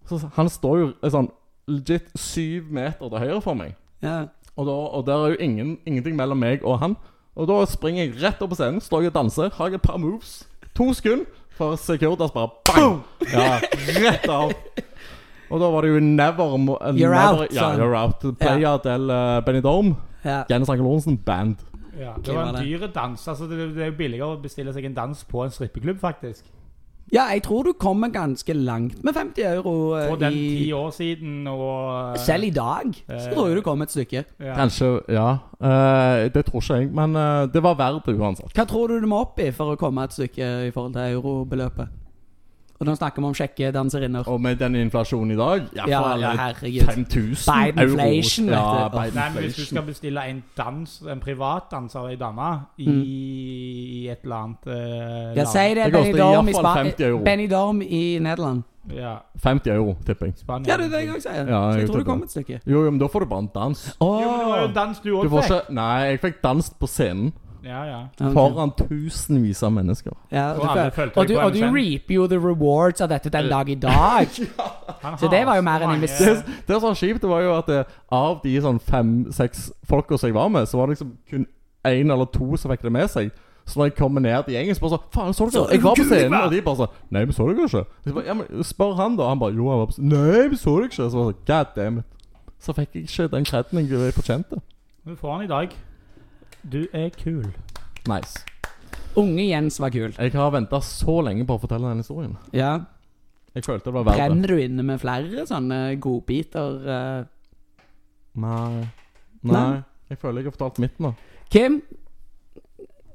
Så han står jo eh, sånn legit syv meter til høyre for meg. Ja. Og, da, og der er jo ingen, ingenting mellom meg og han. Og da springer jeg rett opp på scenen, står jeg og danser, har jeg et par moves. To sekunder, for Securitas bare bang! Ja, rett av. Og da var det jo never mo- eh, You're never, out, Ja, son. you're out. Player del eh, Benny Dorm. Ja. Jens Anker Lorentzen, band. Ja, det Hvem var var en det? dyr dans. Altså, det, det er jo billigere å bestille seg en dans på en strippeklubb, faktisk. ja, jeg tror du kommer ganske langt med 50 euro. eh, For den ti i, år siden, og selv i dag så Eh. tror jeg du kommer et stykke. ja. Kanskje, ja. Eh, det tror ikke jeg, men eh, det var verdt det uansett. Hva tror du du må opp i for å komme et stykke i forhold til eurobeløpet? Og nå snakker vi om kjekke danserinner. Og med den inflasjonen i dag Ja, Ja, faen, ja, det er herregud. 5000 Bidenflation, euro. Ja, vet du. Bidenflation. Nei, men hvis du skal bestille en dans, en privatdanser, ei dame, i, Mm. i et eller annet eh, Ja, land. si det. Det Benny koster Dorm i, iallfall Spa 50 euro. Benny Dorm i Nederland. Ja, 50 euro, tipper jeg. Spania. Ja, det er det jeg òg sier. Ja, så jeg jeg tror vet du kommer et stykke. Jo, jo, men da får du bare en dans. Jo, men det var jo dans du Du òg får fikk. ikke Nei, jeg fikk danset på scenen Ja, ja. Ja, ok. foran tusenvis av mennesker. Ja, og, Og alle du, føl- følte deg og, du, på og du MSN. reaper jo the rewards av dette den dag i dag. Han Så det har var jo mer en mange- Det, investering. det som var kjipt, det var jo at eh, av de sånn fem-seks folka som jeg var med, så var det liksom kun én eller to som fikk det med seg. Så når jeg kommer ned til gjengen, så bare sånn Faen, så du Så ikke? Jeg var på Gud, scenen, hva? og de bare sånn Nei, men så du ikke? Jeg bare, ja, men Spør han, da. Han bare Jo, han var på scenen. Nei, men så du ikke? Så var jeg sånn God damn it. Så fikk jeg ikke den kreden jeg fortjente. Du får han i dag. Du er kul. Nice. Unge Jens var kul. Jeg har venta så lenge på å fortelle den historien. Ja. Jeg følte det var verdt det. Brenner du inne med flere sånne godbiter? eh? Nei. Nei. Nei. Jeg føler jeg har fortalt mitt nå. Kim,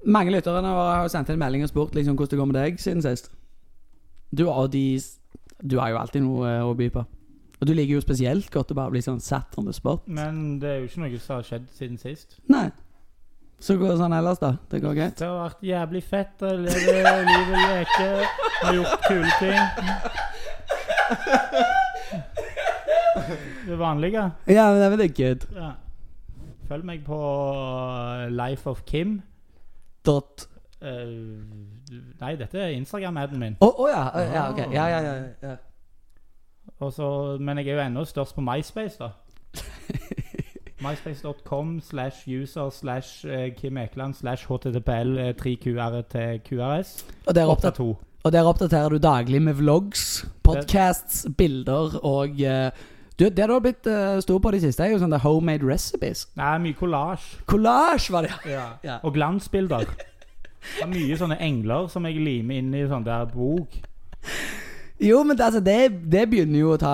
mange lytterne våre har jo sendt en melding og spurt liksom, hvordan det går med deg siden sist. Du, og de, du har jo alltid noe eh, å by på. Og du liker jo spesielt godt å bare bli sånn satt on the spot. Men det er jo ikke noe som har skjedd siden sist. Nei. Så går det sånn ellers, da. Det går greit. Det har vært jævlig fett å leve livet leke. Har gjort kule ting. Det vanlige. Ja, men det er vel litt good. Ja. Følg meg på eh, Life of Kim. Dot. Eh, nei, dette er Instagram-aden min. Å å ja. å, ja, ok. Ja, ja, ja. ja. Og så- men jeg er jo ennå størst på MySpace, da. MySpace.com slash user slash eh, Kim Ekeland slash HTTPL 3QRTQRS. Og der, oppdater, 8-2. og der oppdaterer du daglig med vlogs, podcasts, bilder og eh, du, Det du har blitt eh, stor på de siste, er jo sånne homemade recipes. Nei, mye kollasj. Collage var det! Ja. Ja. Og glansbilder. Det er mye sånne engler som jeg limer inn i sånn der bok. Jo, men det, altså, det, det begynner jo å ta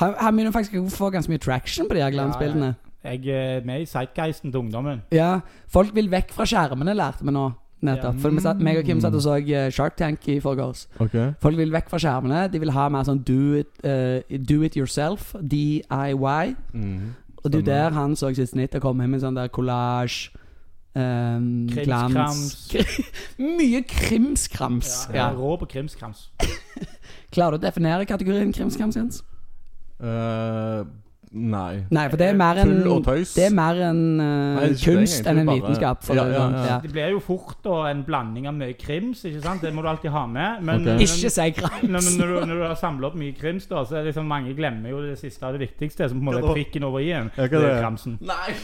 Han, han begynner faktisk å få ganske mye traction på de her glansbildene. Jeg eh, er med i Sightgeisten til ungdommen. Ja, Folk vil vekk fra skjermene, lærte vi nå. Nettopp. Ja. For vi satt, meg og Kim satt og så eh, Shark Tank i forgårs. Okay. Folk vil vekk fra skjermene. De vil ha mer sånn do it, eh, do it yourself. DIY. Mm. Og det er jo Stemmer. der han så sitt snitt å komme med en sånn der collage ehm, glans Krimskrams. Mye krimskrams. Ja, jeg Ja, er rå på krimskrams. Klarer du å definere kategorien krimskrams, Jens? Eh, nei. Nei, for det er mer en, Tull og tøys. det er mer en eh, Eh, Nei, det er ikke kunst det, egentlig. enn en Bare- vitenskap. For Ja, å si det ja, sånn. ja. Det blir jo fort da, en blanding av mye krims, ikke sant? Det må du alltid ha med. Men, Ok. Ja. Ikke si Når, krams. når, du, når du har samla opp mye krims, da, så er det liksom mange glemmer jo det siste og det viktigste, som på en måte Ja, da. er prikken over i-en. Ja, hva er Det er det? kramsen. Nei!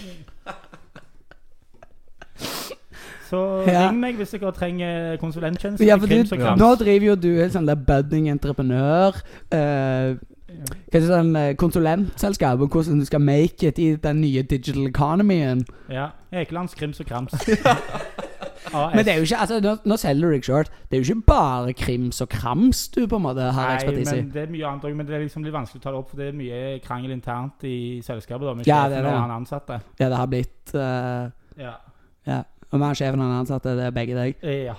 Så Ja. ring meg hvis dere trenger konsulenttjeneste. Ja, til for krims du, og nå krams. driver jo du en sånn der budding entreprenør. eh, hva heter det, sånn eh, konsulentselskap om hvordan du skal make it i den nye digital economyen. Ja. Ekelands krims og krams. Men det er jo ikke, altså, nå, nå selger du deg short. Det er jo ikke bare krims og krams du på en måte har ekspertise Nei, i. men det er mye annet også, men det er liksom litt vanskelig å ta det opp, for det er mye krangel internt i selskapet da, med Ja, det er sjefen det. og han ansatte. Ja, det har blitt eh, Ja. Og mer sjefen enn ansatte, det er begge deg. Eh, Ja.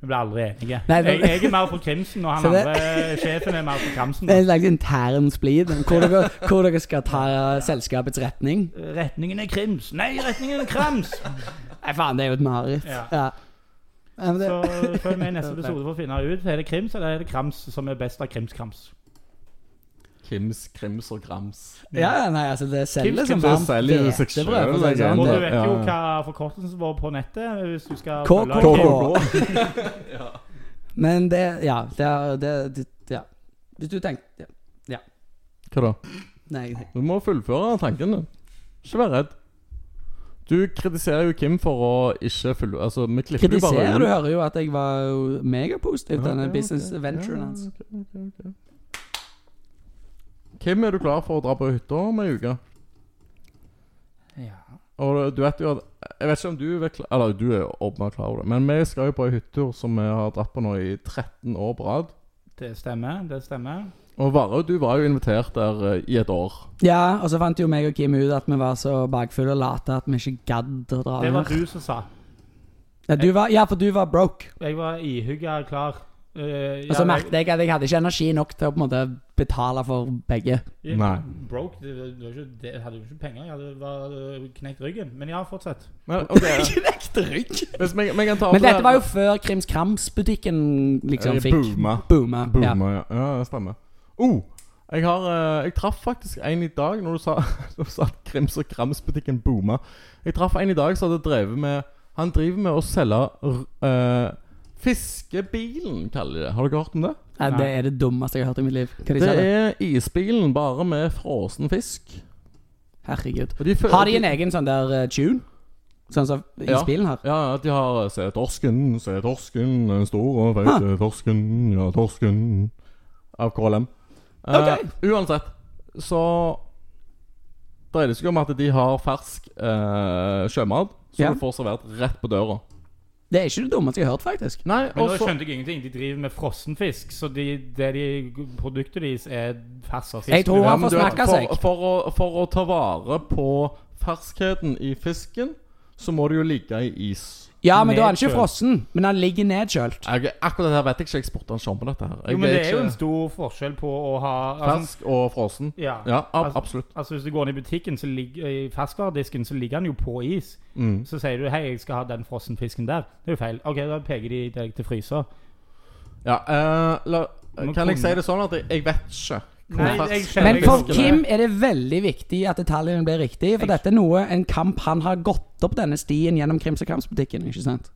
Vi blir aldri enige. Nei, det- jeg, jeg er mer for krimsen, og han Så det- andre sjefen er mer for kramsen. Det er en slags intern splid om hvor dere, hvor dere skal ta selskapets retning. Retningen er krims. Nei, retningen er krams! Nei, faen, det er jo et mareritt. Ja. Ja. Ja, men det, Så følg med i neste episode for å finne ut Er det Krims eller er det Krams som er best av Krimskrams. Krims, krims og grams. ja, ja, nei, altså, det selger som Kim Kim varmt selger jo seg hvetebrød, for å si det selv, sånn. Og du Det- det- vet jo ja. hva forkortelsen vår på nettet Hvis du skal KKK. følge Kim. Men det Ja. Det er det, det, Ja. Hvis du tenker ja. Hva da? Nei, jeg tenker Du må fullføre tanken din. Ikke vær redd. Du kritiserer jo Kim for å ikke fullføre Altså, vi klipper jo bare Kritiserer ut. du hører jo at jeg var jo megapositiv til denne Ja, business ok. venturen Ja, hans. ok, ok, ok. Kim, er du klar for å dra på hytta om ei uke? Ja. Og du vet jo at Jeg vet ikke om du er klar Eller du er åpenbart klar over det, men vi skal jo på ei hyttetur som vi har dratt på nå i 13 år på rad. Det stemmer, det stemmer. Og Varhaug, du var jo invitert der eh, i et år. Ja, og så fant jo meg og Kim ut at vi var så bakfulle og late at vi ikke gadd å dra Det var ned. du som sa. Ja, du var, ja, for du var broke. Jeg var ihugga klar. Eh, Og så ja, merket jeg at jeg hadde ikke energi nok til å på en måte betale for begge. jeg- Nei. Broke. Det, var- det, var ikke, det jeg hadde jo ikke penger. Jeg hadde bare eh, knekt ryggen. Men ja, fortsett. Men, ok, Knekt rygg! hvis vi, vi kan ta Men dette var jo før Krims Krams-butikken liksom fikk Booma. booma. Ja. Boomer, Eh, ja. ja. det stemmer. Oh, jeg, har, eh, jeg traff faktisk en i dag Når du sa, når du sa at Krims og Krams-butikken booma. Jeg traff en i dag som hadde drevet med Han driver med å selge r- eh, Fiskebilen, kaller de det. Har dere hørt om det? Ja, det er det dummeste jeg har hørt i mitt liv. Hva de Det sa det? er isbilen bare med frossen fisk. Herregud. Og de fø- Har de en egen sånn der eh, tune? Sånn som Ja. isbilen har? Ja, ja, de har eh, Se torsken, se torsken, den store feite torsken, ja, torsken Av KLM. Eh, Ok. Uansett, så dreier det seg om at de har fersk eh, sjømat som Ja. du får servert rett på døra. Det er ikke det dummeste jeg har hørt, faktisk. Nei, Men og da så skjønte jeg ingenting. De driver med frossenfisk, så de, det de, produktet deres er fersk fisk. Jeg tror Ja, han men får du vet, snakke seg. for, for, å, for å ta vare på ferskheten i fisken, så må det jo ligge i is. Ja, men da er han ikke nedkjølt. frossen. Men han ligger nedkjølt. Jeg, akkurat det her vet jeg ikke. Jeg spurte han ikke om dette. her Jeg Jo, men det ikke er jo en stor forskjell på å ha altså, fersk og frossen. ja. Ja, ab Altså- absolutt. altså Hvis du går ned i butikken så ligger, i ferskvaredisken, så ligger den jo på is. Mm. Så sier du 'hei, jeg skal ha den frossenfisken der'. Det er jo feil. Ok, Da peker de deg til fryser. Ja, eh, la, Men kan jeg kunne- si det sånn at jeg, jeg vet ikke hvor Nei, jeg fersk skjønner Men jeg for husker det. Kim er det veldig viktig at detaljene blir riktig, for dette er noe en kamp han har gått opp denne stien gjennom Krims og Krams-butikken, ikke sant?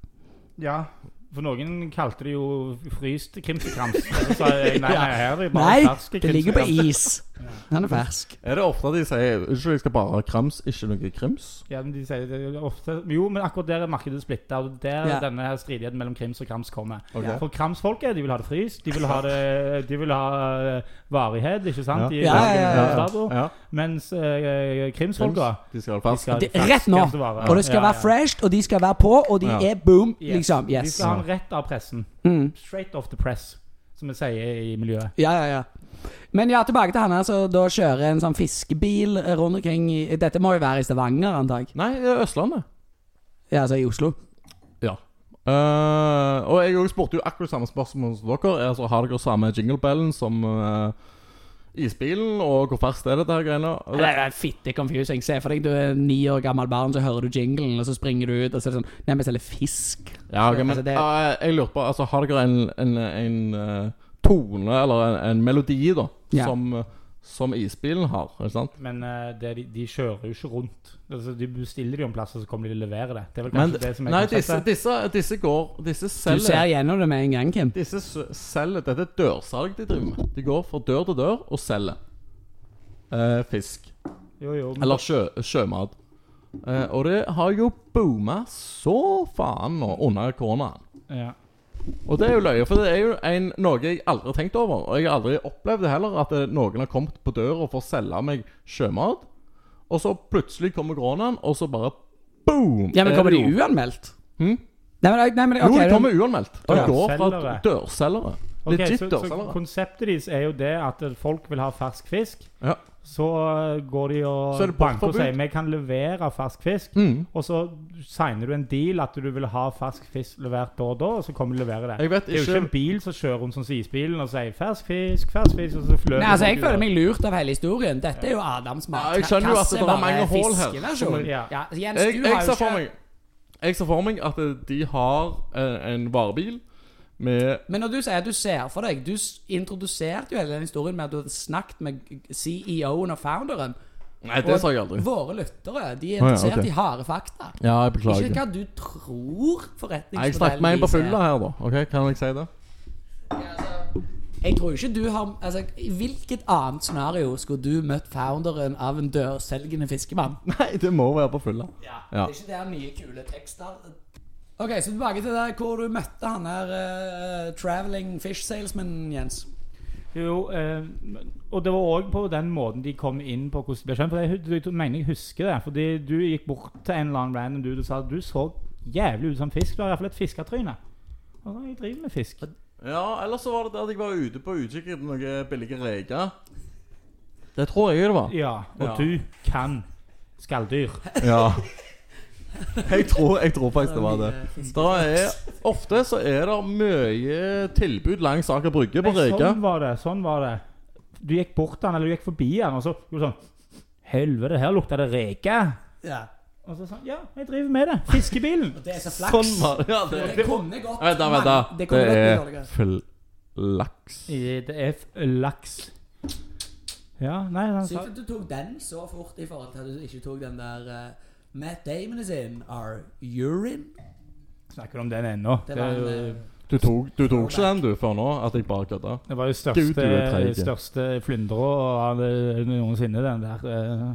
Ja, for noen kalte det jo fryst krimsekrams. Så sa jeg nei, nei, her er det bare Nei, ferske det ligger på krimsekrams. is. Han er fersk. Er det ofte de sier Unnskyld, jeg skal bare ha krams, ikke noe krims? Ja, men de sier det ofte Jo, men akkurat der er markedet splitta. Og der Ja. er denne her stridigheten mellom krims og krams kommer. Ok. For kramsfolket de vil ha det fryst. De vil ha, det, de vil ha eh, varighet, ikke sant? I Ja, ja, ja, ja. dagen, ja. Mens eh, Krims. krimsfolka De skal ha det de fersk. skal ha Det- ferske rett nå. varer. Og det skal Ja, være ja. fresh, og de skal være på, og de Ja. er boom, Yes. liksom. De Yes. skal ha den rett av pressen. Mm. Straight off the press, som vi sier i miljøet. Ja, ja, ja. Men ja, tilbake til han her, som da kjører en sånn fiskebil rundt omkring i Dette må jo være i Stavanger, antar jeg. Nei, det er Østlandet. Ja, altså i Oslo. Ja. Eh, og jeg også spurte jo akkurat samme spørsmål som dere. Altså, har dere samme jinglebellen som eh, isbilen? Og hvor ferskt er dette her greiene? Og Det det- er fitte confusing. Se for deg du er ni år gammel barn, så hører du jinglen, og så springer du ut, og så er det sånn Nei, vi selger fisk. Ja, ok, men Altså, det- eh, jeg lurte på altså, Har dere en, en, en eh, tone eller en, en melodi da Ja. som, eh, som isbilen har? Ikke sant? Men eh, det, de, de kjører jo ikke rundt. Altså, de bestiller det jo en plass, og så kommer de og leverer det. Det er vel kanskje Men det som er nei, disse, konseptet. disse, disse går Disse Du ser selger gjennom det med en gang, Kim. Disse s- selger Dette er dørsalg de driver med. De går fra dør til dør og selger eh, fisk. Jo, jo, men, Eller sjø, sjømat. Eh, og det har jo booma så faen nå under koronaen. ja. Og det er jo løye, for det er jo en, noe jeg aldri har tenkt over. Og jeg har aldri opplevd det heller, at eh, noen har kommet på døra for å selge meg sjømat. Og så plutselig kommer koronaen, og så bare boom! Ja, men er kommer det de jo- uanmeldt? Hm? Nei, men, nei, men Jo, ok, de da- kommer uanmeldt. De Å, ja. går fra Selgere. dørselgere. Ok, Legit så, så dørselgere. konseptet deres er jo det at eh, folk vil ha fersk fisk. Ja. Så eh, går de Så er det og banker og portforbud. sier vi kan levere fersk fisk. Mm. Og så signer du en deal at du vil ha fersk fisk levert da og da, og så kommer de og leverer det. Jeg vet Det er jo ikke ikke en bil som kjører rundt som isbilen og sier 'fersk fisk, fersk fisk', og så fløter Nei, altså, jeg folk føler ut. meg lurt av hele historien. Dette er jo Adams Ja, jeg skjønner jo at det er mange hull her. fiskeversjon. Ja. Ja, Jens, Jeg, du jeg har jo ser for ikke meg Jeg ser for meg at eh, de har en, en varebil med Men når du sier at du ser for deg Du s- introduserte jo hele den historien med at du hadde snakket med CEO-en E og founderen. Nei, det sa jeg aldri. Våre lyttere de er Å ja, interessert ok. i harde fakta. Ja, jeg Ikke hva du tror Nei, jeg snakket med en de på fylla her, da. Ok, Kan jeg si det? Jeg tror ikke du har altså, I hvilket annet scenario skulle du møtt founderen av en dørselgende fiskemann? Nei, det må være på fylla. Ja. Det er ikke der mye kule tekster Ok, så tilbake til der hvor du møtte han her eh, traveling fish salesman, Jens. Jo, eh, og det var òg på den måten de kom inn på hvordan de ble kjent. For jeg, hu- jeg mener jeg husker det. Fordi du gikk bort til en eller annen random dude og sa at du så jævlig ut som fisk. Du har iallfall et fisketryne. Og da, jeg driver med fisk. ja, ellers så var det det at jeg var ute på utkikk etter noen billige reker. Det tror jeg det var. Ja, og Ja. du kan skalldyr. Ja. Jeg tror, jeg tror faktisk det var det. eh, Da er, ofte så er det mye tilbud langs Aker Brygge på Nei, reker. Sånn var det. sånn var det Du gikk bort til han, eller du gikk forbi han, og så gjorde du sånn Helvete, her lukter det reke. Ja. Og så sa han ja, jeg driver med det. Fiskebilen. Og det er så flaks. Sånn var det. Ja, det, Det kunne gått Vent, da, vent, da. mange- Det Det kunne gått mye er dårligere. flaks. I- Det er f- laks. Ja, nei, han sa Sykt at du tok den så fort i forhold til at du ikke tok den der eh, Matt Damon is in our urine. Snakker om den ennå. Det var en, eh, Du tok, du tok ikke den, du, før nå? At jeg bare kødda? Det var jo Gud, du er treig. største, største flyndra av det noensinne, den der. eh.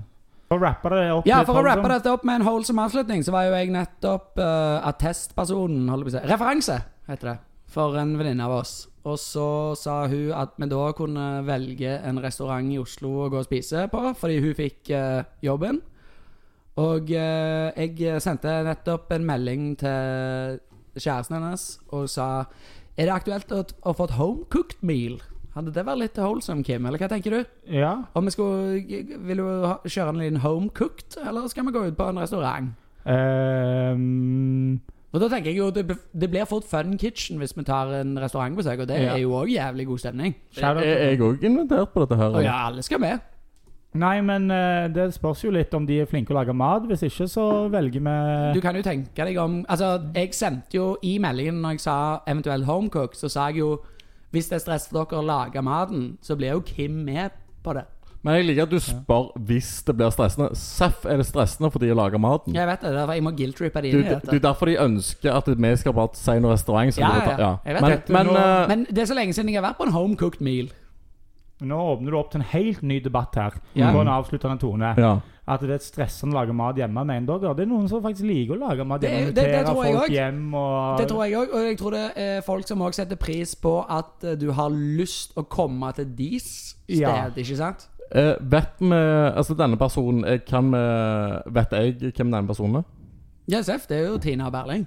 For å rappe det opp Ja, litt, altså. for å Holm, rappe dette opp med en holdsom avslutning, så var jo jeg nettopp eh, attestpersonen, holder jeg på å si. Referanse, heter det. For en venninne av oss. Og så sa hun at vi da kunne velge en restaurant i Oslo å gå og spise på, fordi hun fikk eh, jobben. Og eh, jeg sendte nettopp en melding til kjæresten hennes og sa Er det aktuelt å, å få et home cooked meal? Hadde det vært litt wholesome, Kim? Eller hva tenker du? Ja. Om vi skulle Vil du ha- kjøre en liten home cooked, eller skal vi gå ut på en restaurant? Ehm, Og da tenker jeg jo Det, bl- det blir fort fun kitchen hvis vi tar en restaurantbesøk, og det Ja. er jo òg jævlig god stemning. shout out- Eh, Er jeg òg invitert på dette her? Og ja, alle skal med. Nei, men eh, det spørs jo litt om de er flinke å lage mat. Hvis ikke, så velger Du vi kan jo tenke deg om Altså, jeg sendte jo i meldingen når jeg sa eventuelt home cooked, så sa jeg jo hvis det er stress for dere å lage maten, så blir jo Kim med på det. Men jeg liker at du spør hvis det blir stressende. Seff er det stressende fordi jeg lager maten. Jeg vet det, derfor jeg må guilt-trippe det Du, inn i du, dette. du, derfor de ønsker at vi skal bare si noe restaurant. som Ja, vi tar- ja, jeg vet Men, det. men, eh, Men det er så lenge siden jeg har vært på en home cooked meal. Nå åpner du opp til en helt ny debatt her. Ja. På en avsluttende tone. ja. At det er stressende å lage mat hjemme med endoger. Det er noen som faktisk liker å lage mat Det er- hjemme. det- det inviterer tror jeg folk også. hjem og Det tror jeg òg, og jeg tror det er folk som òg setter pris på at eh, du har lyst å komme til deres sted, Ja. ikke sant? Eh, Vet vi Altså, denne personen eh, Kan vi Vet jeg hvem denne personen er? Ja, Seff, det er jo Tina Berling.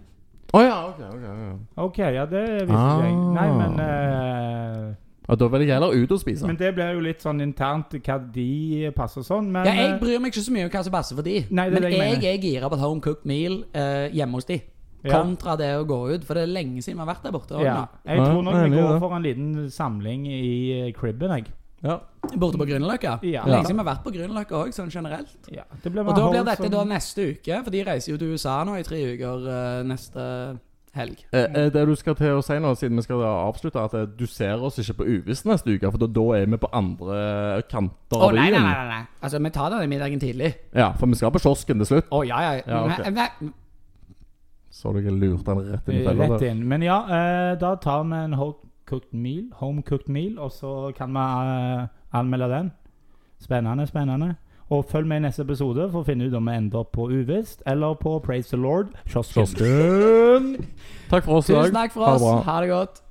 Å ja, ok. ok, ok. OK, ja, det visste Ah. jeg. Nei, men Ah. eh, Ja, Da vil jeg heller ut og spise. Men det blir jo litt sånn internt hva de passer sånn, men Ja, jeg bryr meg ikke så mye om hva som passer for de, Nei, det er men det jeg jeg, mener. er gira på et home cooked meal eh, hjemme hos de. Ja. Kontra det å gå ut, for det er lenge siden vi har vært der borte. også ja. nå. Jeg tror nok Ja, vi enig i går det. for en liten samling i eh, cribben, jeg. ja. Borte på Grünerløkka. Ja. Lenge siden vi har vært på Grünerløkka òg, sånn generelt. Ja. Det blir Og da blir wholesome. dette da neste uke, for de reiser jo til USA nå i tre uker eh, neste helg. Eh, eh, Det du skal til å si nå, siden vi skal avslutte, at eh, du ser oss ikke på uvisst neste uke, for da, da er vi på andre kanter Å, av nei, byen. nei, nei, nei. Altså, vi tar denne middagen tidlig. Ja, for vi skal på kiosken til slutt. Å, ja, ja. Ja, ok. Nei, nei. Så dere lurte han rett inn i fella. Rett der. inn. Men ja, eh, da tar vi en home cooked meal, home cooked meal og så kan vi eh, anmelde den. Spennende, spennende. Og følg med i neste episode for å finne ut om vi ender opp på uvisst eller på Praise the Lord. Kiosken. Kiosken! Takk for oss i dag. Tusen takk Ha for det oss. bra. Ha det godt.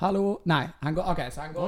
Hallo Nei, han går OK, så han går